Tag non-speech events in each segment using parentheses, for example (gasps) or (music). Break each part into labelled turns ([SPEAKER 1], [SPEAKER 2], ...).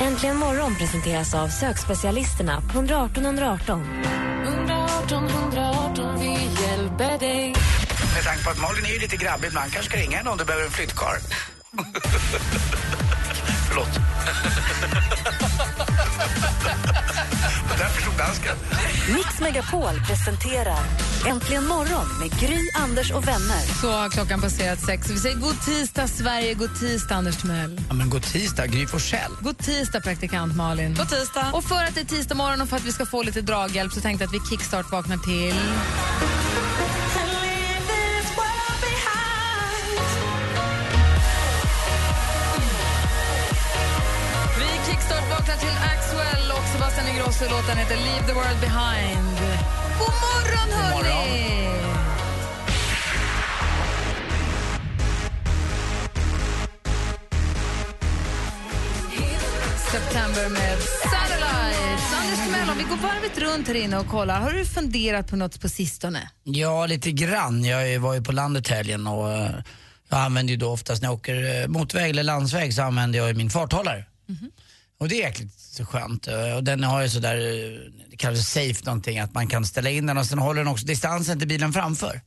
[SPEAKER 1] Äntligen morgon presenteras av sökspecialisterna på 118 118.
[SPEAKER 2] Med tanke på att Malin är ju lite grabbig ibland kanske ska ringa henne om du behöver en flyttkarl. Förlåt. Men där förstod dansken.
[SPEAKER 1] Mix Megapol presenterar Äntligen morgon med Gry, Anders och vänner.
[SPEAKER 3] Så har klockan passerat sex. Vi säger god tisdag, Sverige. God tisdag, Anders Timell.
[SPEAKER 2] Ja, men god tisdag, Gry Forssell.
[SPEAKER 3] God tisdag, praktikant Malin. God tisdag. Och för att det är tisdag morgon och för att vi ska få lite draghjälp så tänkte jag att vi kickstart vaknar till... Vi kickstart vaknar till Axwell och Sebastian Ingrosso. Låten heter Leave the world behind. God morgon, hörni! September med Satellites. Anders Timell, om vi går varvet runt här inne och kollar. Har du funderat på något på sistone?
[SPEAKER 4] Ja, lite grann. Jag är- var ju på landet helgen och eh, jag använder ju då oftast när jag åker eh, motväg eller landsväg så använder jag ju min farthållare. Och det är jäkligt skönt. Eh, Och den har ju sådär, eh, det kallas safe någonting, att man kan ställa in den och sen håller den också distansen till bilen framför.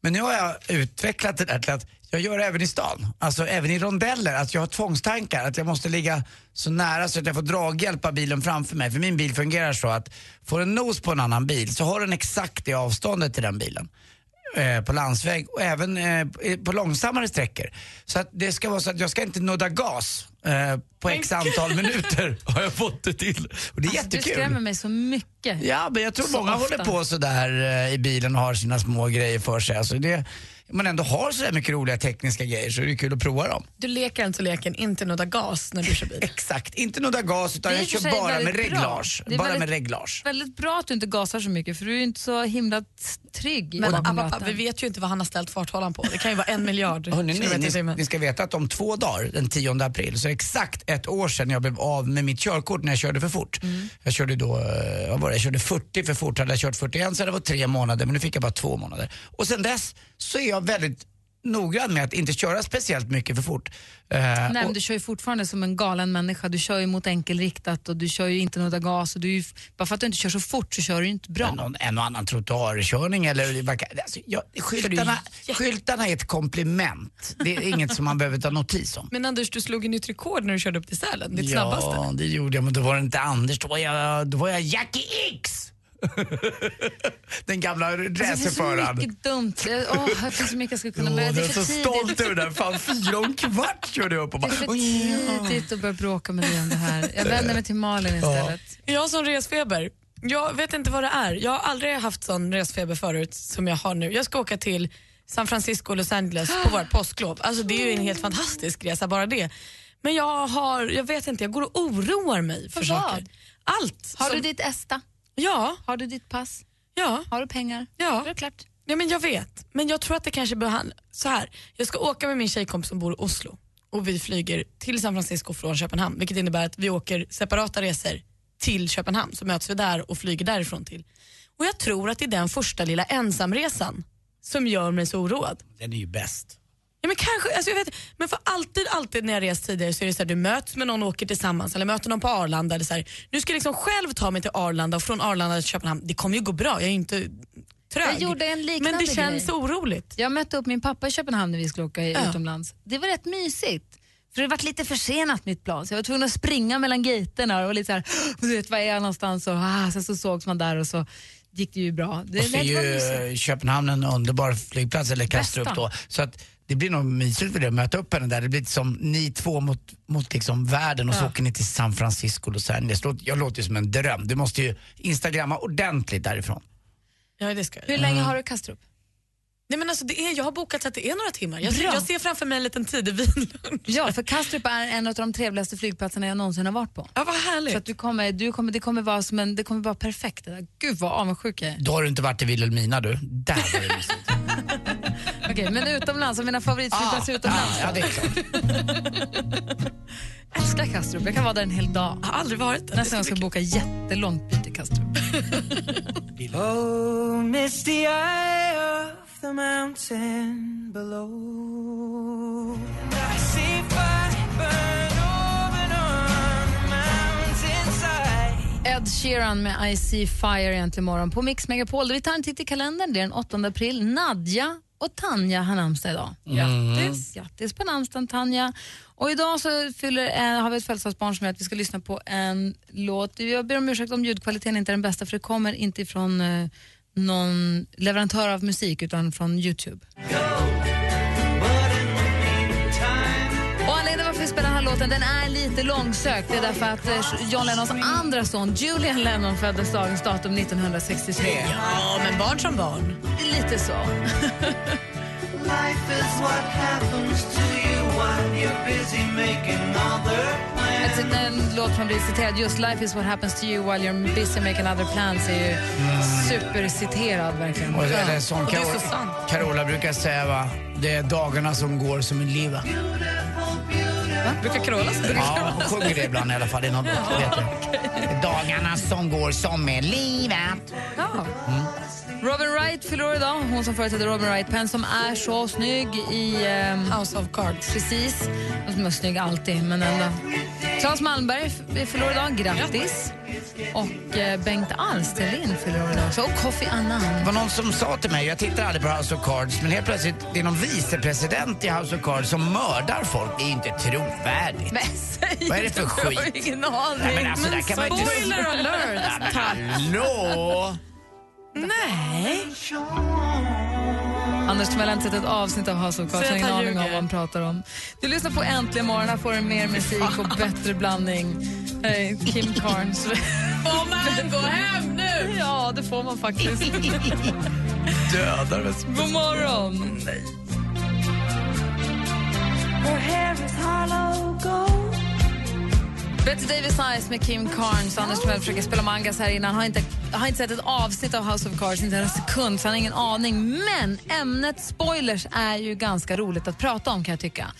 [SPEAKER 4] Men nu har jag utvecklat det där till att jag gör det även i stan, alltså även i rondeller, att jag har tvångstankar, att jag måste ligga så nära så att jag får draghjälp av bilen framför mig. För min bil fungerar så att får en nos på en annan bil så har den exakt det avståndet till den bilen eh, på landsväg och även eh, på långsammare sträckor. Så att det ska vara så att jag ska inte nudda gas eh, på x antal minuter (laughs) har jag fått det till. Och det är
[SPEAKER 3] Alltså, Du
[SPEAKER 4] jättekul.
[SPEAKER 3] skrämmer mig så mycket.
[SPEAKER 4] Ja, men jag tror
[SPEAKER 3] Så
[SPEAKER 4] många
[SPEAKER 3] ofta.
[SPEAKER 4] håller på sådär eh, i bilen och har sina små grejer för sig. Alltså det, man ändå har sådär mycket roliga tekniska grejer så är det kul att prova dem.
[SPEAKER 5] Du leker alltså leken inte nudda gas när du
[SPEAKER 4] (laughs)
[SPEAKER 5] kör bil.
[SPEAKER 4] Exakt, inte nudda gas utan
[SPEAKER 3] Det
[SPEAKER 4] jag
[SPEAKER 3] är i och för
[SPEAKER 4] kör
[SPEAKER 3] sig
[SPEAKER 4] bara med
[SPEAKER 3] väldigt bra.
[SPEAKER 4] reglage.
[SPEAKER 3] Det är
[SPEAKER 4] Bara
[SPEAKER 3] väldigt-
[SPEAKER 4] med reglage.
[SPEAKER 3] Väldigt bra att du inte gasar så mycket för du är ju inte så himla t- trygg i
[SPEAKER 5] Men
[SPEAKER 3] bakom
[SPEAKER 5] app, app,
[SPEAKER 3] ratten.
[SPEAKER 5] app, vi vet ju inte vad han har ställt farthållaren på. Det kan ju vara en miljard
[SPEAKER 4] Hörrni,
[SPEAKER 5] kilometer i
[SPEAKER 4] ni, ni,
[SPEAKER 5] timmen.
[SPEAKER 4] ni ska veta att om två dagar, den 10 april, så är det exakt ett år sedan jag blev av med mitt körkort när jag körde för fort.
[SPEAKER 3] Mm.
[SPEAKER 4] Jag körde då, eh, vad var det, jag körde 40 för fort, hade jag kört 41 så hade det varit tre månader men nu fick jag bara två månader. Och sen dess så är jag väldigt noggrann med att inte köra speciellt mycket för fort. Eh,
[SPEAKER 3] Nej, men
[SPEAKER 4] och-
[SPEAKER 3] du kör ju fortfarande som en galen människa. Du kör ju mot enkelriktat och du kör ju inte några gas. Och du är ju, bara för att du inte kör så fort så kör du ju inte bra.
[SPEAKER 4] någon, en och annan trottoarkörning eller vad kan- alltså, jag, skyltarna, skyltarna är ett komplement. Det är inget som man behöver ta notis om.
[SPEAKER 5] Men Anders, du slog ju nytt rekord när du körde upp till Sälen. Ditt snabbaste.
[SPEAKER 4] Ja, det gjorde jag, men då var det inte Anders, då var jag, då var jag Jackie X! Den gamla
[SPEAKER 3] Alltså, det finns så
[SPEAKER 4] racerföraren.
[SPEAKER 3] mycket dumt. Jag- Åh, det finns så mycket jag skulle kunna
[SPEAKER 4] Åh,
[SPEAKER 3] börja.
[SPEAKER 4] Jag
[SPEAKER 3] Det är
[SPEAKER 4] är
[SPEAKER 3] för
[SPEAKER 4] så
[SPEAKER 3] tidigt.
[SPEAKER 4] stolt över den. Fan, fyra och en kvart körde jag upp och bara...
[SPEAKER 3] Det är för tidigt att börja bråka med dig om det här. Jag vänder mig till Malin istället.
[SPEAKER 5] Jag som resfeber. Jag vet inte vad det är. Jag har aldrig haft sån resfeber förut som jag har nu. Jag ska åka till San Francisco och Los Angeles på vårt påsklov. Alltså det är ju en helt fantastisk resa bara det. Men jag har, jag vet inte, jag går och oroar mig för,
[SPEAKER 3] För vad?
[SPEAKER 5] saker. Allt.
[SPEAKER 3] Har du
[SPEAKER 5] som-
[SPEAKER 3] ditt ESTA?
[SPEAKER 5] Ja,
[SPEAKER 3] Har du ditt pass?
[SPEAKER 5] ja,
[SPEAKER 3] Har du pengar?
[SPEAKER 5] ja.
[SPEAKER 3] Är det klart?
[SPEAKER 5] Ja, men jag vet, men jag tror att det kanske behandlar... Så här, jag ska åka med min tjejkompis som bor i Oslo och vi flyger till San Francisco från Köpenhamn vilket innebär att vi åker separata resor till Köpenhamn så möts vi där och flyger därifrån till. Och jag tror att det är den första lilla ensamresan som gör mig så oroad.
[SPEAKER 4] Den är ju bäst.
[SPEAKER 5] Ja, men kanske, alltså jag vet, men för alltid, alltid när jag rest tidigare så är det så här, du möts med någon och åker tillsammans eller möter någon på Arlanda. Eller så här, nu ska jag liksom själv ta mig till Arlanda och från Arlanda till Köpenhamn. Det kommer ju gå bra, jag är ju inte trög.
[SPEAKER 3] Jag gjorde en liknande
[SPEAKER 5] men det känns
[SPEAKER 3] grej.
[SPEAKER 5] oroligt.
[SPEAKER 3] Jag mötte upp min pappa i Köpenhamn när vi skulle åka i-
[SPEAKER 5] Ja.
[SPEAKER 3] utomlands. Det var rätt mysigt. För det varit lite försenat mitt plan så jag var tvungen att springa mellan gaterna och lite så här, (gasps) du vet var är jag någonstans och ah, sen så sågs man där och så gick det ju bra. Det,
[SPEAKER 4] Och så är
[SPEAKER 3] det var mysigt.
[SPEAKER 4] ju Köpenhamn en underbar flygplats, eller Kastrup
[SPEAKER 3] Bästa.
[SPEAKER 4] då. Så att det blir nog mysigt för dig att möta upp henne där. Det blir lite som ni två mot, mot liksom världen och så åker ni till San Francisco, Los Angeles. Låt- Jag låter ju som en dröm. Du måste ju instagramma ordentligt därifrån.
[SPEAKER 5] Ja, det ska jag.
[SPEAKER 3] Hur länge har du Kastrup?
[SPEAKER 5] Nej, men alltså det är, jag har bokat så att det är några timmar. Jag,
[SPEAKER 3] Bra.
[SPEAKER 5] jag ser framför mig en liten tidig vinlunch.
[SPEAKER 3] Ja, för Kastrup är en av de trevligaste flygplatserna jag någonsin har varit på.
[SPEAKER 5] Ja, vad härligt.
[SPEAKER 3] Så att du kommer, du kommer, det, kommer vara som en, det kommer vara perfekt. det där. Gud vad avundsjuk jag är.
[SPEAKER 4] Då har du inte varit i Vilhelmina du. Där var det mysigt.
[SPEAKER 3] Okej, men utomlands, och mina favoritflygplatser
[SPEAKER 5] Ah.
[SPEAKER 3] utomlands.
[SPEAKER 4] Ja, det är klart.
[SPEAKER 3] Jag älskar Kastrup, jag kan vara där en hel dag.
[SPEAKER 5] Jag har aldrig varit där.
[SPEAKER 3] Nästa gång ska jag boka jättelångt byte Kastrup. Ed Sheeran med I see fire egentligen imorgon på Mix Megapol. Vi tar en titt i kalendern, det är den 8 april. Nadja och Tanja har namnsdag idag. Grattis! Grattis på namnsdagen Tanja. Och idag så fyller, eh, har vi ett födelsedagsbarn som gör att vi ska lyssna på en låt. Jag ber om ursäkt om ljudkvaliteten inte är den bästa för det kommer inte ifrån eh, någon leverantör av musik utan från Youtube. Och anledningen varför vi spelar den här låten, den är lite långsökt. Det är därför att eh, John Lennons andra son, Julian Lennon, föddes dagens datum 1963.
[SPEAKER 5] Ja, men barn som barn.
[SPEAKER 3] Lite så. Alltså, Den låt som blir citerad just, Life is what happens to you while you're busy making other plans, är ju superciterad verkligen.
[SPEAKER 4] Och, eller som
[SPEAKER 5] Och det är
[SPEAKER 4] Carola,
[SPEAKER 5] så sant.
[SPEAKER 4] Carola brukar säga va, det är dagarna som går som en liva.
[SPEAKER 5] Brukar Carola säga det?
[SPEAKER 4] Ja, hon sjunger det ibland i alla fall i någon låt. jag vet inte. Dagarna som går som en liva.
[SPEAKER 3] Ja. Robin Wright fyller år idag, hon som företrädde Robin Wright Penn som är så snygg i... ehm,
[SPEAKER 5] House of Cards.
[SPEAKER 3] Precis. Och som är snygg alltid, men ändå. Claes Malmberg f- fyller år idag, grattis. Och eh, Bengt Alsterlind fyller år idag också. Och Kofi
[SPEAKER 5] (laughs)
[SPEAKER 3] Annan.
[SPEAKER 4] Det var någon som sa till mig, jag tittar aldrig på House of Cards, men helt plötsligt, det är någon vicepresident i House of Cards som mördar folk. Det är ju inte trovärdigt.
[SPEAKER 3] Men säg
[SPEAKER 4] Vad är det för
[SPEAKER 3] inte, Jag har
[SPEAKER 4] skit?
[SPEAKER 3] ingen aning.
[SPEAKER 4] Nej, men alltså, där kan man inte...
[SPEAKER 5] Spoiler alert!
[SPEAKER 4] Men Hallå!
[SPEAKER 5] Nej.
[SPEAKER 3] Anders Timell har inte sett ett avsnitt av House of Cards.
[SPEAKER 5] Så
[SPEAKER 3] Jag har ingen
[SPEAKER 5] jag tar
[SPEAKER 3] aning om
[SPEAKER 5] ljuger.
[SPEAKER 3] vad han pratar om. Du lyssnar på Äntligen morgon. Här får du mer musik
[SPEAKER 5] (laughs)
[SPEAKER 3] och bättre blandning. Eh, Kim Carnes.
[SPEAKER 5] Får man gå hem (laughs) nu?
[SPEAKER 3] ja, det får man faktiskt.
[SPEAKER 5] (laughs)
[SPEAKER 4] Dödar mig.
[SPEAKER 3] God morgon! Betty Davis Eyes med Kim Carnes. Anders Timell försöker spela mangas här innan. Har inte, har inte sett ett avsnitt av House of Cards, inte en sekund, så han har ingen aning. Men ämnet spoilers är ju ganska roligt att prata om kan jag tycka.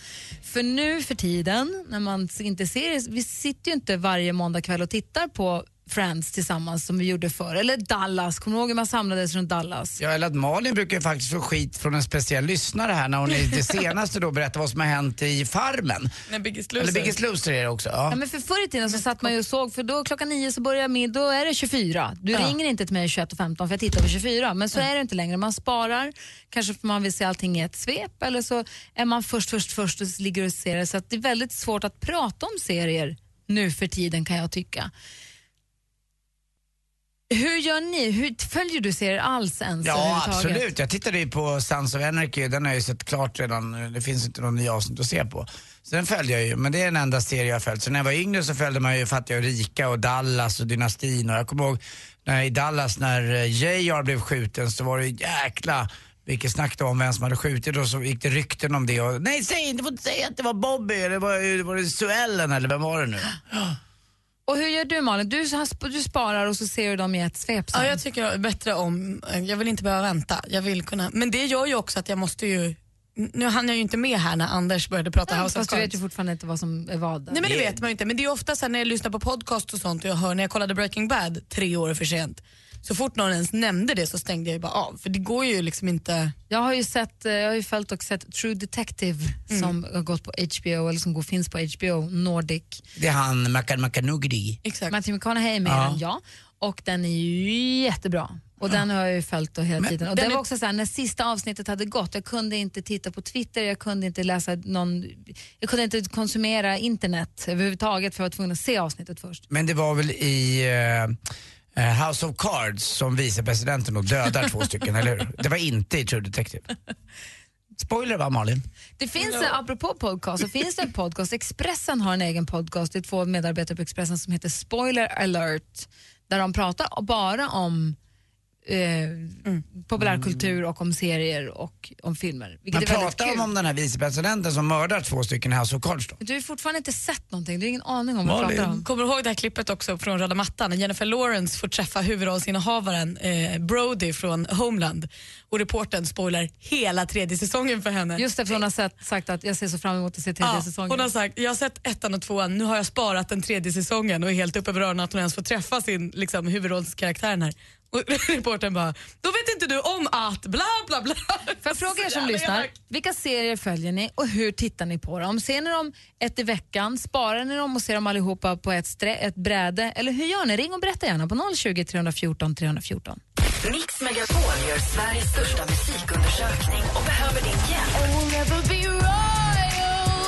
[SPEAKER 3] För nu för tiden, när man inte ser vi sitter ju inte varje måndag kväll och tittar på Friends tillsammans som vi gjorde förr. Eller Dallas, kommer du ihåg hur man samlades runt Dallas?
[SPEAKER 4] Ja, eller att Malin brukar ju faktiskt få skit från en speciell lyssnare här när hon i det senaste då berättar vad som har hänt i Farmen.
[SPEAKER 5] Nej, Biggest
[SPEAKER 4] Eller
[SPEAKER 5] Loser.
[SPEAKER 4] Biggest Loser är det också. Ja.
[SPEAKER 3] Ja, men för förr i tiden så satt man ju och såg, för då klockan nio så börjar min, då är det 24. Du ringer inte till mig 21.15 för jag tittar på 24, men så är det inte längre. Man sparar, kanske för man vill se allting i ett svep eller så är man först, först, först och så ligger och ser det. Så att det är väldigt svårt att prata om serier nu för tiden kan jag tycka. Hur gör ni? Hur, följer du serier alls ens
[SPEAKER 4] Ja,
[SPEAKER 3] överhuvudtaget?
[SPEAKER 4] absolut. Jag tittade ju på Sons of Anarchy, den har jag ju sett klart redan. Det finns inte någon ny avsnitt att se på. Så den följde jag ju, men det är den enda serie jag har följt. Så när jag var yngre så följde man ju Fattiga och rika och Dallas och Dynastin och jag kommer ihåg när, i Dallas när eh, J.R. blev skjuten så var det ju jäkla vilket snack det var om vem som hade skjutit och så gick det rykten om det och nej säg inte, du får inte säga att det var Bobby eller var, var det Suellen eller vem var det nu?
[SPEAKER 3] Och hur gör du Malin? Du, har- du sparar och så ser du dem i ett svep sen.
[SPEAKER 5] Ja, jag tycker bättre om, eh, jag vill inte behöva vänta. Jag vill kunna, men det gör ju också att jag måste ju, nu hann jag ju inte med här när Anders började prata House of
[SPEAKER 3] Fast du vet
[SPEAKER 5] Cards.
[SPEAKER 3] ju fortfarande inte vad som är vad. där.
[SPEAKER 5] Nej men det vet man ju inte, men det är ju ofta så här när jag lyssnar på podcast och sånt och jag hör när jag kollade Breaking Bad tre år för sent. Så fort någon ens nämnde det så stängde jag ju bara av, för det går ju liksom inte.
[SPEAKER 3] Jag har ju sett, eh, jag har ju följt och sett True Detective
[SPEAKER 5] Mm.
[SPEAKER 3] som har gått på HBO eller som går, finns på HBO Nordic.
[SPEAKER 4] Det är han Makan Makanugdi.
[SPEAKER 5] Exakt.
[SPEAKER 3] Matthew McConaughey är med i
[SPEAKER 4] Ja.
[SPEAKER 3] den, ja. Och den är ju jättebra. Och den har jag ju följt då hela tiden. Och
[SPEAKER 5] den
[SPEAKER 3] den var
[SPEAKER 5] är-
[SPEAKER 3] också så här, när sista avsnittet hade gått, jag kunde inte titta på Twitter, jag kunde inte läsa någon, jag kunde inte konsumera internet överhuvudtaget för jag var tvungen att se avsnittet först.
[SPEAKER 4] Men det var väl i eh, eh, House of Cards som vicepresidenten då dödar två stycken, eller hur? Det var inte i True Detective. Spoiler va Malin?
[SPEAKER 3] Det finns, eh, apropå podcast, så finns det en podcast. Expressen har en egen podcast. Det är två medarbetare på Expressen som heter Spoiler alert. Där de pratar bara om eh,
[SPEAKER 5] Mm.
[SPEAKER 3] populärkultur och om serier och om filmer.
[SPEAKER 4] Man
[SPEAKER 3] Vilket är väldigt
[SPEAKER 4] pratar
[SPEAKER 3] kul.
[SPEAKER 4] om, om den här vicepresidenten som mördar två stycken i House of Cards då.
[SPEAKER 3] Men Du har ju fortfarande inte sett någonting, du har ingen aning om vad du
[SPEAKER 4] Malin.
[SPEAKER 3] pratar om.
[SPEAKER 5] Kommer du ihåg det här klippet också från röda mattan när Jennifer Lawrence får träffa huvudrollsinnehavaren eh, Brody från Homeland och reportern spoilar hela tredje säsongen för henne.
[SPEAKER 3] Just det, för hon har sett, sagt att jag ser så fram emot att se tredje
[SPEAKER 5] ja,
[SPEAKER 3] säsongen.
[SPEAKER 5] hon har sagt, jag har sett ettan och tvåan, nu har jag sparat den tredje säsongen och är helt uppe över öronen att hon ens får träffa sin liksom, huvudrollskaraktär här. Och (laughs) reportern bara, då vet inte du om att bla bla bla.
[SPEAKER 3] Får jag fråga er som
[SPEAKER 5] Jävla
[SPEAKER 3] lyssnar,
[SPEAKER 5] elak.
[SPEAKER 3] vilka serier följer ni och hur tittar ni på dem? Ser ni dem ett i veckan, sparar ni dem och ser dem allihopa på ett, strä, ett bräde? Eller hur gör ni? Ring och berätta gärna på 020 314 314.
[SPEAKER 1] Mix Megapol gör Sveriges största musikundersökning och behöver din hjälp.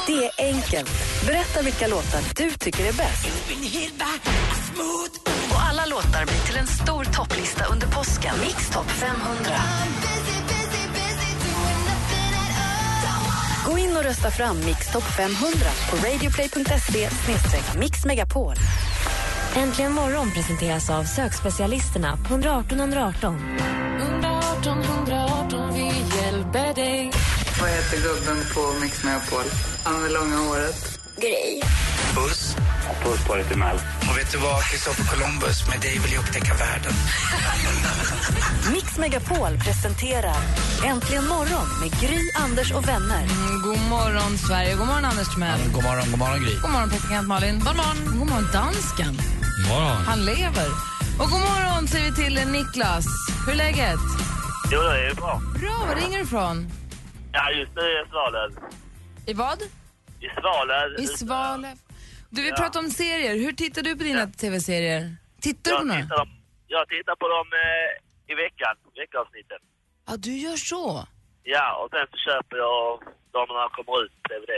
[SPEAKER 1] Det är enkelt. Berätta vilka låtar du tycker är bäst. Och alla låtar blir till en stor topplista under påsken. Mix topp 500. Gå in och rösta fram Mix topp 500 på radioplay.se mixmegapol.
[SPEAKER 6] Äntligen morgon presenteras av sökspecialisterna på 118 118.
[SPEAKER 7] Vad heter gubben på Mix Megapol? Han med långa håret.
[SPEAKER 2] Puss. Puss på dig till Mel. Och vet du vad, Kristoffer Columbus, med dig vill jag upptäcka världen.
[SPEAKER 1] Mix Megapol presenterar Äntligen morgon med Gry, Anders och vänner.
[SPEAKER 3] Mm, god morgon Sverige, god morgon Anders Timell.
[SPEAKER 4] God morgon, god morgon Gry.
[SPEAKER 3] God morgon praktikant Malin. God morgon. God morgon dansken. Han lever. Och god morgon säger vi till Niklas. Hur är läget?
[SPEAKER 7] Jo, det är ju bra.
[SPEAKER 3] Bra, var ringer du ifrån?
[SPEAKER 7] Ja, just nu är jag i Svalöv.
[SPEAKER 3] I vad?
[SPEAKER 7] I Svalöv.
[SPEAKER 3] I Svalöv. Du, vi pratar om serier. Hur tittar du på dina tv-serier? Tittar du på
[SPEAKER 7] Jag
[SPEAKER 3] några?
[SPEAKER 7] tittar, dem, jag tittar på dem eh, i veckan, veckoavsnitten.
[SPEAKER 3] Ja, du gör så.
[SPEAKER 7] Ja, och sen så köper jag dem när de kommer ut på DVD.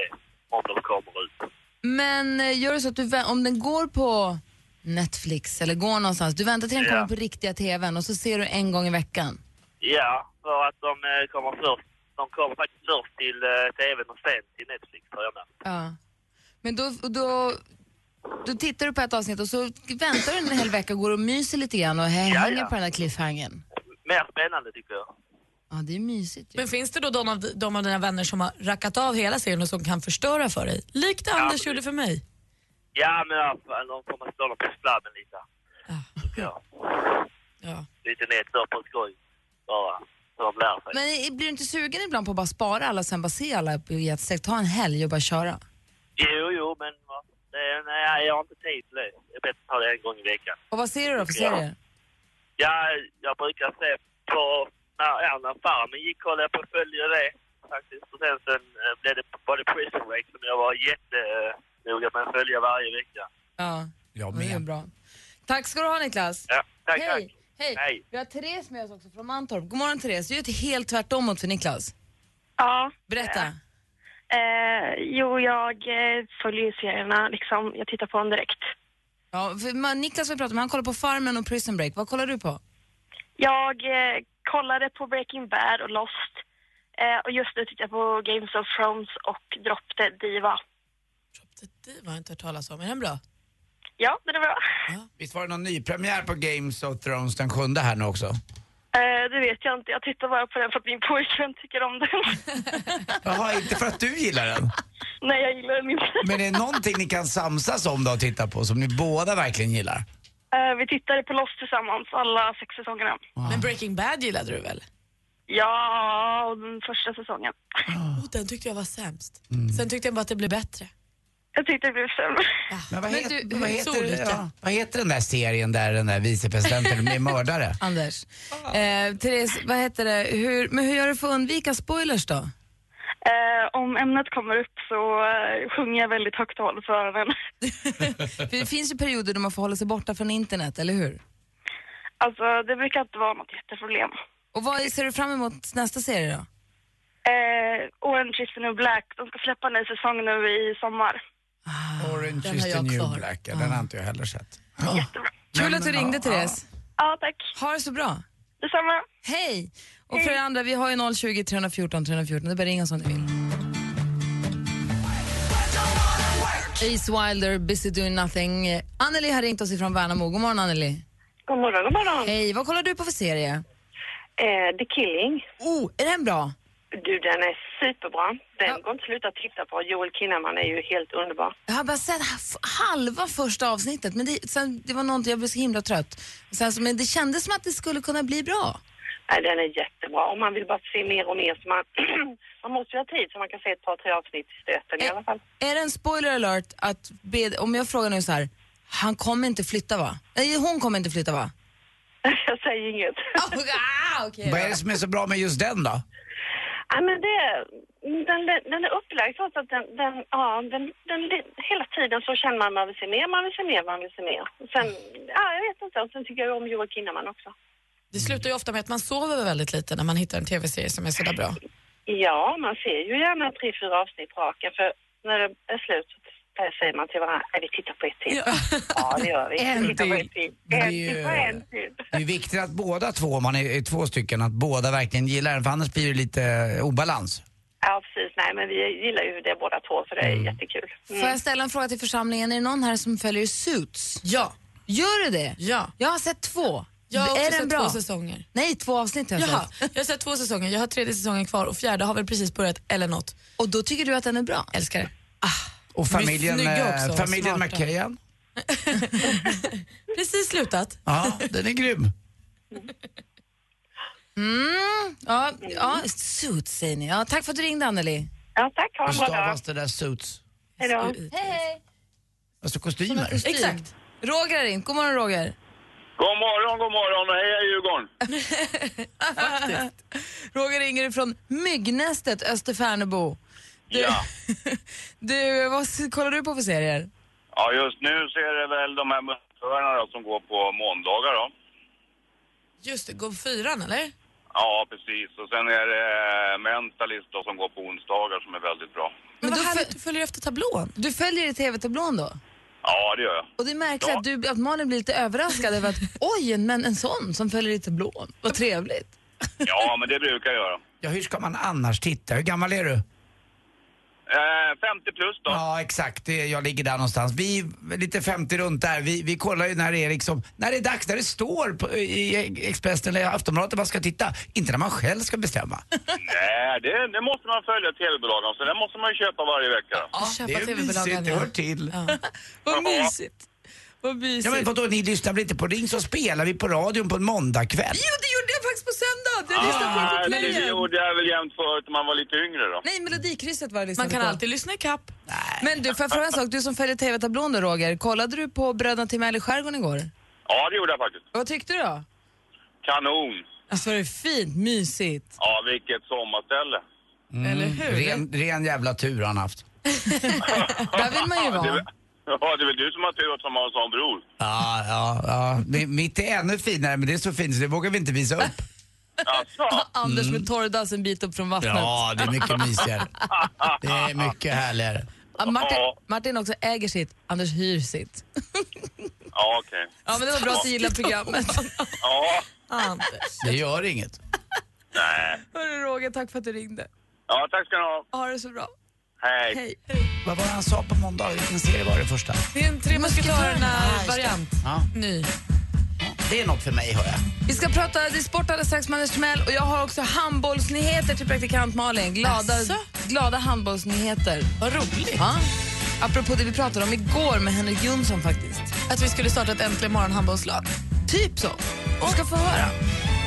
[SPEAKER 7] Om de kommer ut.
[SPEAKER 3] Men eh, gör det så att du, vä- om den går på Netflix eller går någonstans, du väntar till den
[SPEAKER 7] Ja.
[SPEAKER 3] kommer på riktiga tvn och så ser du en gång i veckan.
[SPEAKER 7] Ja, för att de eh, kommer först. De kommer faktiskt först till eh, TVn och sen till Netflix, har jag märkt.
[SPEAKER 3] Ja. Men då, då, då tittar du på ett avsnitt och så väntar du en hel vecka, går och myser lite grann och hä-
[SPEAKER 7] Ja,
[SPEAKER 3] hänger
[SPEAKER 7] ja.
[SPEAKER 3] på den där cliffhangern.
[SPEAKER 7] Mer spännande, tycker jag.
[SPEAKER 3] Ja, det är mysigt ju.
[SPEAKER 5] Men finns det då de av, de av dina vänner som har rackat av hela serien och som kan förstöra för dig? Likt det Anders
[SPEAKER 7] precis.
[SPEAKER 5] gjorde för mig.
[SPEAKER 7] Ja, men ja, fan, de kommer slå dem på sladden lite.
[SPEAKER 3] Ah.
[SPEAKER 7] tycker jag.
[SPEAKER 5] Ja.
[SPEAKER 7] Lite nät så på skoj. Bara. Så de lär sig.
[SPEAKER 3] Men i- blir du inte sugen ibland på att bara spara alla sen bara se alla på- i ett streck, ta en helg och bara köra?
[SPEAKER 7] Jo, jo, men va, det, nej, jag har inte tid till det. Det är bättre att ta det en gång i veckan.
[SPEAKER 3] Och vad ser du då för
[SPEAKER 7] Ja.
[SPEAKER 3] serier?
[SPEAKER 7] Ja, jag brukar se på... När, ja, när Farmen gick kollade jag på och följde det. Faktiskt. Och sen, sen eh, blev det både Prison Break som jag var jättenoga med att följa varje vecka.
[SPEAKER 3] Ja,
[SPEAKER 4] Jag
[SPEAKER 3] det är
[SPEAKER 4] med.
[SPEAKER 3] bra. Tack ska du ha Niklas.
[SPEAKER 7] Ja, tack,
[SPEAKER 3] Hej.
[SPEAKER 7] tack.
[SPEAKER 3] Hej.
[SPEAKER 7] Hej.
[SPEAKER 3] Vi har Therese med oss också från Mantorp. God morgon Therese, du är ju helt tvärtom mot för Niklas.
[SPEAKER 8] Ja,
[SPEAKER 3] Berätta.
[SPEAKER 8] eh, jo jag eh, följer ju serierna liksom. Jag tittar på dem direkt.
[SPEAKER 3] Ja, för man, Niklas vi pratar om, han kollar på Farmen och Prison Break. Vad kollar du på?
[SPEAKER 8] Jag eh, kollade på Breaking Bad och Lost. Eh, och just nu tittar jag på Games of Thrones och Drop Dead Diva.
[SPEAKER 5] Det var jag inte hört talas om. Är den bra?
[SPEAKER 8] Ja, det är bra.
[SPEAKER 4] Visst var det någon nypremiär på Games of Thrones den sjunde här nu också?
[SPEAKER 8] Eh, det vet jag inte. Jag tittar bara på den för att min pojkvän tycker om den. (laughs)
[SPEAKER 4] Jaha, inte för att du gillar den.
[SPEAKER 8] Nej, jag gillar den inte.
[SPEAKER 4] Men är det någonting ni kan samsas om då och titta på som ni båda verkligen gillar?
[SPEAKER 8] Eh, vi tittade på Lost tillsammans, alla sex säsongerna.
[SPEAKER 5] Men Breaking Bad gillade du väl?
[SPEAKER 8] Ja, och den första säsongen. (laughs)
[SPEAKER 5] Oh, den tyckte jag var sämst.
[SPEAKER 4] Mm.
[SPEAKER 5] Sen tyckte jag bara att det blev bättre.
[SPEAKER 8] Jag tyckte det blev sämre.
[SPEAKER 4] Men vad,
[SPEAKER 3] Men
[SPEAKER 4] heter,
[SPEAKER 3] du,
[SPEAKER 4] vad,
[SPEAKER 3] hur-
[SPEAKER 4] heter,
[SPEAKER 5] så olika.
[SPEAKER 4] ja, vad heter den där serien där den där vicepresidenten blir mördare?
[SPEAKER 3] Anders. Eh, Therese, vad heter det? Hur, men hur gör du för att undvika spoilers då? (laughs)
[SPEAKER 8] Eh, om ämnet kommer upp så eh, sjunger jag väldigt högt och håller för öronen. (laughs)
[SPEAKER 3] För det finns ju perioder då man får hålla sig borta från internet, eller hur?
[SPEAKER 8] Alltså det brukar inte vara något jätteproblem.
[SPEAKER 3] Och vad är- ser du fram emot nästa serie då?
[SPEAKER 8] Eh, Orange is the new black, de ska släppa en ny säsong nu i sommar.
[SPEAKER 4] Orange
[SPEAKER 5] Den
[SPEAKER 4] is
[SPEAKER 5] har
[SPEAKER 4] the
[SPEAKER 5] jag
[SPEAKER 4] new
[SPEAKER 5] kvar.
[SPEAKER 4] black, ja, den har inte jag heller sett.
[SPEAKER 8] Jättebra.
[SPEAKER 3] Kul att du ringde Therese.
[SPEAKER 8] Ja tack,
[SPEAKER 3] Ha det så bra.
[SPEAKER 8] detsamma.
[SPEAKER 3] Hej! Och för det andra, vi har ju 020 314 314. Det är bara att ringa oss om ni vill. Ace Wilder, Busy Doing Nothing. Anneli har ringt oss ifrån Värnamo. God morgon Anneli.
[SPEAKER 8] God morgon, god morgon.
[SPEAKER 3] Hej, vad kollar du på för serie?
[SPEAKER 8] Eh, The Killing.
[SPEAKER 5] Oh, är den bra?
[SPEAKER 8] Du, den är superbra. Den går inte att sluta titta på. Joel Kinnaman är ju helt underbar.
[SPEAKER 3] Jag har bara sett h- halva första avsnittet, men det, sen, det var någonting, jag blev så himla trött. Sen, så- men det kändes som att det skulle kunna bli bra.
[SPEAKER 8] Nej, den är jättebra. Om man vill bara se mer och mer så man... (clears throat) man måste ju ha tid så man kan se ett par, tre avsnitt i stöten i alla fall. (laughs)
[SPEAKER 3] Är det en spoiler alert att, be, om jag frågar nu så här, han kommer inte flytta va? Nej, hon kommer inte flytta
[SPEAKER 5] (laughs)
[SPEAKER 3] va?
[SPEAKER 8] Jag säger inget.
[SPEAKER 3] ah,
[SPEAKER 4] Vad är det som är så bra med just den då?
[SPEAKER 8] (laughs) Ja, men det, den, den är upplagd så att den, den, ja, den, den, hela tiden så känner man man vill se mer, man vill se mer, man vill se mer. Och Sen, ja, jag vet inte, och sen tycker jag om Joel Kinnaman också.
[SPEAKER 5] Det slutar ju ofta med att man sover väldigt lite när man hittar en tv-serie som är sådär bra.
[SPEAKER 8] Ja, man ser ju gärna tre, fyra avsnitt raken för när det är slut så säger man till varandra, "Nej, vi tittar på ett till. (laughs) Ja, det gör vi.
[SPEAKER 4] En
[SPEAKER 8] Vi tittar på ett till. En
[SPEAKER 4] Det är ju-
[SPEAKER 8] till på en till.
[SPEAKER 4] Det är viktigt att båda två, om man är, är två stycken, att båda verkligen gillar den för annars blir det lite eh, obalans.
[SPEAKER 8] Ja, precis. Nej, men vi gillar ju det båda två så det är jättekul. Mm.
[SPEAKER 3] Får jag ställa en fråga till församlingen? Är det någon här som följer Suits?
[SPEAKER 5] Ja.
[SPEAKER 3] Gör du det?
[SPEAKER 5] Ja.
[SPEAKER 3] Jag har sett två.
[SPEAKER 5] Jag har också
[SPEAKER 3] är den
[SPEAKER 5] sett
[SPEAKER 3] bra?
[SPEAKER 5] två säsonger.
[SPEAKER 3] Nej, två avsnitt har jag
[SPEAKER 5] Jaha,
[SPEAKER 3] sett.
[SPEAKER 5] jag har sett två säsonger, jag har tredje säsongen kvar och fjärde har väl precis börjat eller något.
[SPEAKER 3] Och då tycker du att den är bra?
[SPEAKER 5] Älskar det.
[SPEAKER 4] Och
[SPEAKER 5] De är
[SPEAKER 4] familjen,
[SPEAKER 5] snygga
[SPEAKER 4] eh,
[SPEAKER 5] också,
[SPEAKER 4] familjen
[SPEAKER 5] smarta.
[SPEAKER 4] McKayan,
[SPEAKER 5] Precis slutat.
[SPEAKER 4] ja, den är (laughs) grym.
[SPEAKER 3] Mm, ja, ja, Suits säger ni. Ja, tack för att du ringde Anneli.
[SPEAKER 8] Ja, tack. Ha
[SPEAKER 4] Hur stavas det där suits?
[SPEAKER 8] Hej då.
[SPEAKER 3] Hej,
[SPEAKER 4] Alltså kostymer?
[SPEAKER 3] hej. Exakt. Roger har ringt. God morgon Roger.
[SPEAKER 9] God morgon, god morgon och heja Djurgården!
[SPEAKER 3] Roger ringer från Myggnästet, Österfärnebo.
[SPEAKER 9] Ja.
[SPEAKER 3] Du, vad s- kollar du på för serier?
[SPEAKER 9] ja, just nu så är det väl de här bussförarna då som går på måndagar då.
[SPEAKER 5] Just det, går på fyran eller?
[SPEAKER 9] Ja, precis. Och sen är det eh, Mentalist då som går på onsdagar som är väldigt bra.
[SPEAKER 5] Men, vad härligt, du följer efter tablån.
[SPEAKER 3] Du följer i tv-tablån då?
[SPEAKER 9] Ja, det gör jag.
[SPEAKER 3] Och det är märkligt att, du, att Malin blir lite överraskad över att (laughs) oj, en, men en sån som följer i tablån. Vad trevligt.
[SPEAKER 9] Ja, men det brukar jag göra.
[SPEAKER 4] Ja, hur ska man annars titta? Hur gammal är du?
[SPEAKER 9] Eh, 50 plus då.
[SPEAKER 4] Ja, exakt. Det, jag ligger där någonstans. Vi, lite 50 runt där, vi, vi kollar ju när det är liksom, när det är dags, när det står på, i Expressen eller Aftonbladet att man ska titta. Inte när man själv ska bestämma.
[SPEAKER 9] Nej, det, det måste man följa tv-bolagen, så det måste man ju köpa varje vecka. Då.
[SPEAKER 4] det är ju mysigt, det hör till.
[SPEAKER 3] Vad mysigt. Vad mysigt.
[SPEAKER 4] Ja men vadå, ni lyssnar väl inte på Ring så spelar vi på radion på en måndagkväll?
[SPEAKER 3] Jo, det gjorde jag faktiskt på söndag. Jag lyssnade på
[SPEAKER 9] Ah,
[SPEAKER 3] den på
[SPEAKER 9] det det
[SPEAKER 3] kvällen.
[SPEAKER 9] gjorde jag väl jämt förut när man var lite yngre då.
[SPEAKER 3] Nej, Melodikrysset var det jag
[SPEAKER 5] Man
[SPEAKER 3] lyssnade
[SPEAKER 5] kan
[SPEAKER 3] på.
[SPEAKER 5] alltid lyssna i kapp.
[SPEAKER 3] Men du, får jag fråga en sak? Du som följer tv-tablån då, Roger. Kollade du på Bröderna Timell i skärgården igår?
[SPEAKER 9] Ja, det gjorde jag faktiskt.
[SPEAKER 3] Vad tyckte du då?
[SPEAKER 9] Kanon!
[SPEAKER 3] Alltså var det fint, mysigt.
[SPEAKER 9] Ja, vilket sommarställe. Mm,
[SPEAKER 5] Eller hur?
[SPEAKER 4] Ren, ren jävla tur har han haft.
[SPEAKER 3] Där vill man ju
[SPEAKER 9] Det är
[SPEAKER 3] vara.
[SPEAKER 9] väl- (laughs) Ja, det är väl du som har tur som har en sån bror.
[SPEAKER 4] Ja, ja, ja. Det, mitt är ännu finare men det är så fint så det vågar vi inte visa upp.
[SPEAKER 3] (laughs)
[SPEAKER 9] Alltså,
[SPEAKER 3] Anders med torrdass en bit upp från vattnet.
[SPEAKER 4] (laughs) Ja, det är mycket mysigare. Det är mycket härligare.
[SPEAKER 3] Ah, Martin,
[SPEAKER 9] Ja.
[SPEAKER 3] Martin också äger sitt, Anders hyr sitt.
[SPEAKER 9] ja okej.
[SPEAKER 3] Ja, men det var bra att
[SPEAKER 9] (laughs)
[SPEAKER 3] du gillade programmet. (laughs)
[SPEAKER 9] Ja,
[SPEAKER 5] Anders.
[SPEAKER 4] Det gör inget.
[SPEAKER 3] Hörru Roger, tack för att du ringde.
[SPEAKER 9] ja, tack ska ni ha.
[SPEAKER 3] Ha det så bra.
[SPEAKER 9] Hej.
[SPEAKER 3] Hej.
[SPEAKER 4] Vad var det han sa på måndag? Vilken serie var det första?
[SPEAKER 5] Det är en Tre musketörerna-variant.
[SPEAKER 4] Ja.
[SPEAKER 5] Ny.
[SPEAKER 4] Det är något för mig hör jag.
[SPEAKER 3] Vi ska prata det är sport alldeles strax med Anders Timell och jag har också handbollsnyheter till praktikant Malin. Glada,
[SPEAKER 5] Asså?
[SPEAKER 3] glada handbollsnyheter.
[SPEAKER 5] Vad roligt.
[SPEAKER 3] Ja. Apropå det vi pratade om igår med Henrik Jonsson faktiskt.
[SPEAKER 5] Att vi skulle starta ett Äntligen morgon handbollslag.
[SPEAKER 3] Typ så. Du ska få höra.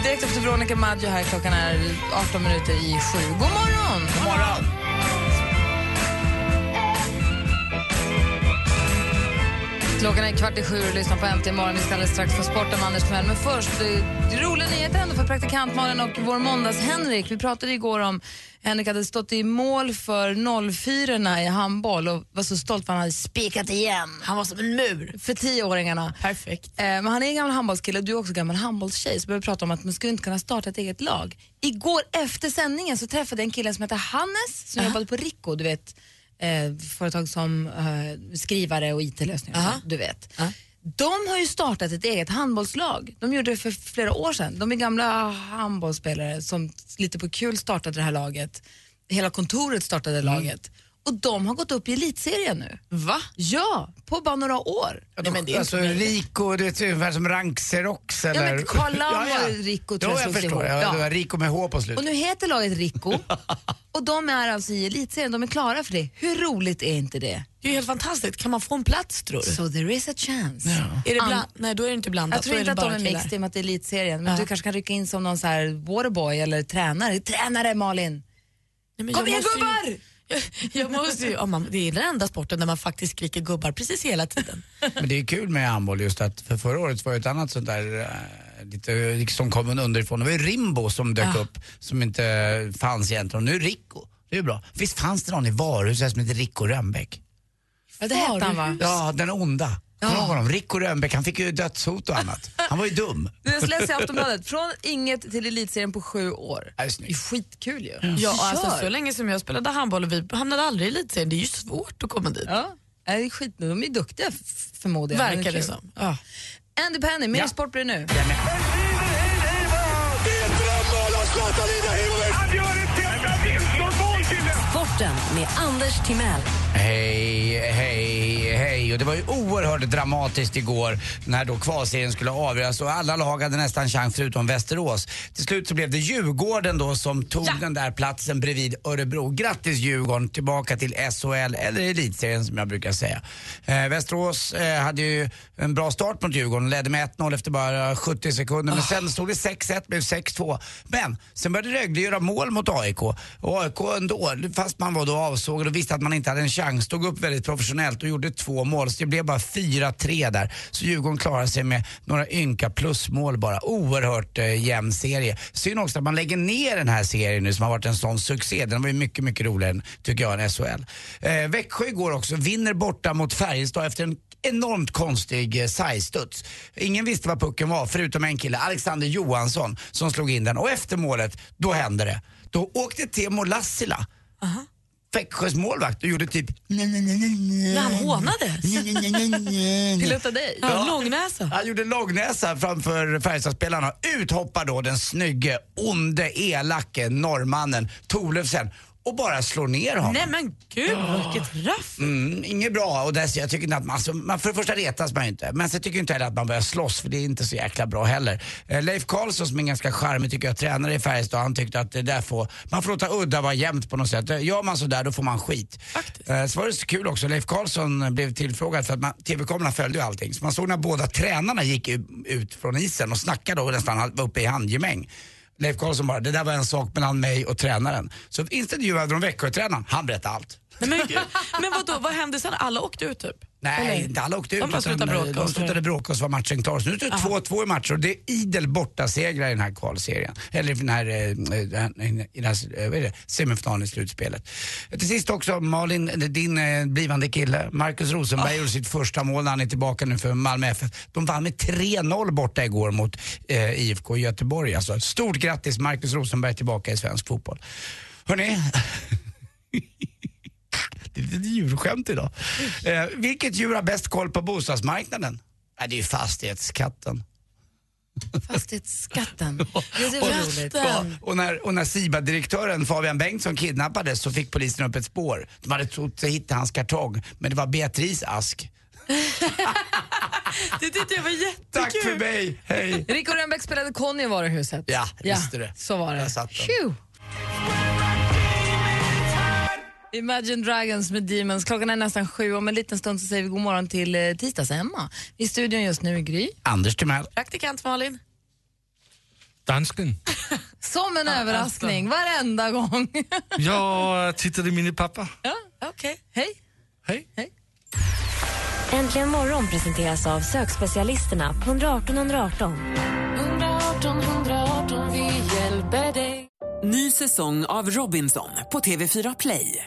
[SPEAKER 3] Direkt efter Veronica Maggio här klockan är 18 minuter i sju. God morgon!
[SPEAKER 4] God morgon!
[SPEAKER 3] Klockan är kvart i sju och lyssnar på Äntligen morgon. Vi ska alldeles strax få sporten med Anders Timell. Men först, eh, roliga nyheter ändå för praktikant Malin och vår måndags-Henrik. Vi pratade igår om Henrik hade stått i mål för 04 i handboll och var så stolt för han hade spikat igen
[SPEAKER 5] Han var som en mur.
[SPEAKER 3] för tioåringarna.
[SPEAKER 5] Perfekt.
[SPEAKER 3] Eh, Men han är en gammal handbollskille och du är också gammal handbollstjej så börjar vi prata om att man skulle inte kunna starta ett eget lag. Igår efter sändningen så träffade jag en kille som heter Hannes som jobbade på Rico, du vet eh, företag som eh, skrivare och IT-lösningar, och
[SPEAKER 5] Aha.
[SPEAKER 3] sånt, du vet.
[SPEAKER 5] Ja.
[SPEAKER 3] De har ju startat ett eget handbollslag. De gjorde det för flera år sedan. De är gamla handbollsspelare som lite på kul startade det här laget. Hela kontoret startade laget. Och de har gått upp i elitserien nu.
[SPEAKER 5] Mm. Va?
[SPEAKER 3] Ja, på bara några år.
[SPEAKER 4] Nej, men det är alltså Rico, det är ungefär som Rankserox eller...
[SPEAKER 3] men Carl Lam och Rico tror
[SPEAKER 4] Jo,
[SPEAKER 3] jag
[SPEAKER 4] jag
[SPEAKER 3] slogs
[SPEAKER 4] förstår. Ja.
[SPEAKER 3] ihop. Ja.
[SPEAKER 4] det var Rico med H på
[SPEAKER 3] Och
[SPEAKER 4] slutet.
[SPEAKER 3] nu heter laget
[SPEAKER 5] (laughs)
[SPEAKER 3] Rico och de är alltså i elitserien, de är klara för det. Hur roligt är inte det?
[SPEAKER 5] Det är ju helt fantastiskt. Kan man få en plats tror du?
[SPEAKER 3] So there is a chance.
[SPEAKER 5] Är det
[SPEAKER 3] An-
[SPEAKER 5] bland... Nej, då är det inte blandat.
[SPEAKER 3] Jag tror
[SPEAKER 5] Då
[SPEAKER 3] inte
[SPEAKER 5] är
[SPEAKER 3] att
[SPEAKER 5] det
[SPEAKER 3] de
[SPEAKER 5] bara
[SPEAKER 3] är
[SPEAKER 5] killar.
[SPEAKER 3] mixed i och med att det är elitserien, men
[SPEAKER 5] Ja.
[SPEAKER 3] du kanske kan rycka in som någon så här waterboy eller tränare. Tränare Malin!
[SPEAKER 5] Nej, men
[SPEAKER 3] Kom
[SPEAKER 5] jag
[SPEAKER 3] igen
[SPEAKER 5] måste ju-
[SPEAKER 3] gubbar!
[SPEAKER 5] (laughs) Jag måste ju, ja, man, det är den enda sporten där man faktiskt skriker gubbar precis hela tiden.
[SPEAKER 4] Men det är kul med handboll just att för förra året var det ett annat sånt där eh, lite, som kom en underifrån. Det var ju Rimbo som dök
[SPEAKER 5] Ja.
[SPEAKER 4] upp som inte fanns egentligen. Och nu Rico. Det är ju bra. Visst fanns det någon i varuhuset som hette Rico Rönnbäck?
[SPEAKER 3] Ja, det hette han va?
[SPEAKER 4] Ja, den onda. Kommer du ihåg honom? Rico Rönnbäck, han fick ju dödshot och annat. Han var ju dum.
[SPEAKER 3] Du jag läser i Aftonbladet, från inget till elitserien på sju år.
[SPEAKER 4] Ja, det är snyggt.
[SPEAKER 3] Skitkul ju.
[SPEAKER 5] (laughs) Ja, alltså,
[SPEAKER 3] Kör.
[SPEAKER 5] så länge som jag spelade handboll och vi hamnade aldrig i elitserien, det är ju svårt att komma dit.
[SPEAKER 3] Ja. Nej, det är skit, de är duktiga f- förmodligen. men
[SPEAKER 5] Verkar
[SPEAKER 3] är
[SPEAKER 5] det
[SPEAKER 3] kul.
[SPEAKER 5] som. Ja.
[SPEAKER 3] Andy Penny, mer sport blir det nu.
[SPEAKER 1] Sporten med Anders Timell.
[SPEAKER 4] Hej, hej, hej. Och det var ju oerhört dramatiskt igår när då kvalserien skulle avgöras och alla lag hade nästan chans förutom Västerås. Till slut så blev det Djurgården då som tog den där platsen bredvid Örebro. Grattis Djurgården tillbaka till SHL eller Elitserien som jag brukar säga. Eh, Västerås eh, hade ju en bra start mot Djurgården, ledde med 1-0 efter bara 70 sekunder men sen stod det 6-1, blev 6-2. Men sen började Rögle göra mål mot AIK och AIK ändå, fast man var då avsågad och visste att man inte hade en chans, stod upp väldigt professionellt och gjorde två mål så det blev bara 4-3 där. Så Djurgården klarade sig med några ynka plusmål bara. Oerhört eh, jämn serie. Synd också att man lägger ner den här serien nu som har varit en sån succé. Den var ju mycket, mycket roligare än, tycker jag än SHL. Eh, Växjö igår också, vinner borta mot Färjestad efter en enormt konstig eh, sidestuds. Ingen visste var pucken var förutom en kille, Alexander Johansson, som slog in den och efter målet, då hände det. Då åkte Teemu Lassila Växjös målvakt och gjorde typ...
[SPEAKER 5] Men han hånade.
[SPEAKER 3] Pilota dig.
[SPEAKER 5] Mm. Ja, långnäsa.
[SPEAKER 4] Han gjorde långnäsa framför Färjestadspelarna. Ut hoppar då den snygge, onde, elake norrmannen Thorleifsen och bara slår ner honom.
[SPEAKER 5] Nej men gud, vilket raff.
[SPEAKER 4] Mm, inget bra. Och dess, jag tycker inte att man, alltså, man, för det första retas man ju inte, men sen tycker jag inte heller att man börjar slåss för det är inte så jäkla bra heller. Eh, Leif Karlsson som är en ganska charmig tycker jag, tränare i Färjestad, han tyckte att det där får, man får låta udda vara jämnt på något sätt. Eh, Gör man sådär då får man skit. Eh, så var det så kul också, Leif Karlsson eh, blev tillfrågad för att man- TV-kamerorna följde ju allting. Så man såg när båda tränarna gick u- ut från isen och snackade och nästan var uppe i handgemäng. Leif Karlsson bara, det där var en sak mellan mig och tränaren. Så intervjuade de Växjötränaren, han berättade allt.
[SPEAKER 5] Nej, men gud. men vadå, vad hände sen? Alla åkte ut typ?
[SPEAKER 4] Nej, inte alla åkte ut.
[SPEAKER 5] De bara
[SPEAKER 4] utan,
[SPEAKER 5] slutade
[SPEAKER 4] eh,
[SPEAKER 5] bråka och
[SPEAKER 4] De
[SPEAKER 5] så.
[SPEAKER 4] slutade bråka och så var matchen klar. Så nu står det 2-2 i matcher och det är idel bortasegrar i den här kvalserien. Eller i den här, eh, i den- i den här eh, vad är det? semifinalen i slutspelet. Till sist också Malin, eh, din eh, blivande kille Marcus Rosenberg
[SPEAKER 5] Ah.
[SPEAKER 4] gjorde sitt första mål när han är tillbaka nu för Malmö FF. De vann med 3-0 borta igår mot eh, IFK Göteborg. Alltså, stort grattis Marcus Rosenberg tillbaka i svensk fotboll. Hörrni, det är ett djurskämt idag. Eh, vilket djur har bäst koll på bostadsmarknaden? Eh, det är ju fastighetskatten. (laughs)
[SPEAKER 3] Fastighetsskatten. Det är så roligt.
[SPEAKER 4] Ja, och när, och när SIBA-direktören Fabian Bengtsson kidnappades så fick polisen upp ett spår. De hade trott sig hitta hans kartong, men det var Beatrice ask.
[SPEAKER 5] Det tyckte jag var jättekul.
[SPEAKER 4] Tack för mig, hej!
[SPEAKER 3] Rico Rönnbäck spelade Conny i varuhuset.
[SPEAKER 4] Ja, visste det.
[SPEAKER 3] Så var det.
[SPEAKER 4] Där satt den.
[SPEAKER 3] Tju! Imagine Dragons med Demons. Klockan är nästan sju. Om en liten stund så säger vi god morgon till eh, tisdags-Emma. I studion just nu är Gry.
[SPEAKER 4] Anders Timell.
[SPEAKER 5] Praktikant Malin.
[SPEAKER 10] Dansken.
[SPEAKER 3] Som en överraskning varenda gång. (laughs)
[SPEAKER 10] Jag tittade i mina papper.
[SPEAKER 5] Okej.
[SPEAKER 3] Hej.
[SPEAKER 6] Äntligen morgon presenteras av sökspecialisterna på 118 118.
[SPEAKER 11] 118 118, vi hjälper dig.
[SPEAKER 12] Ny säsong av Robinson på TV4 Play.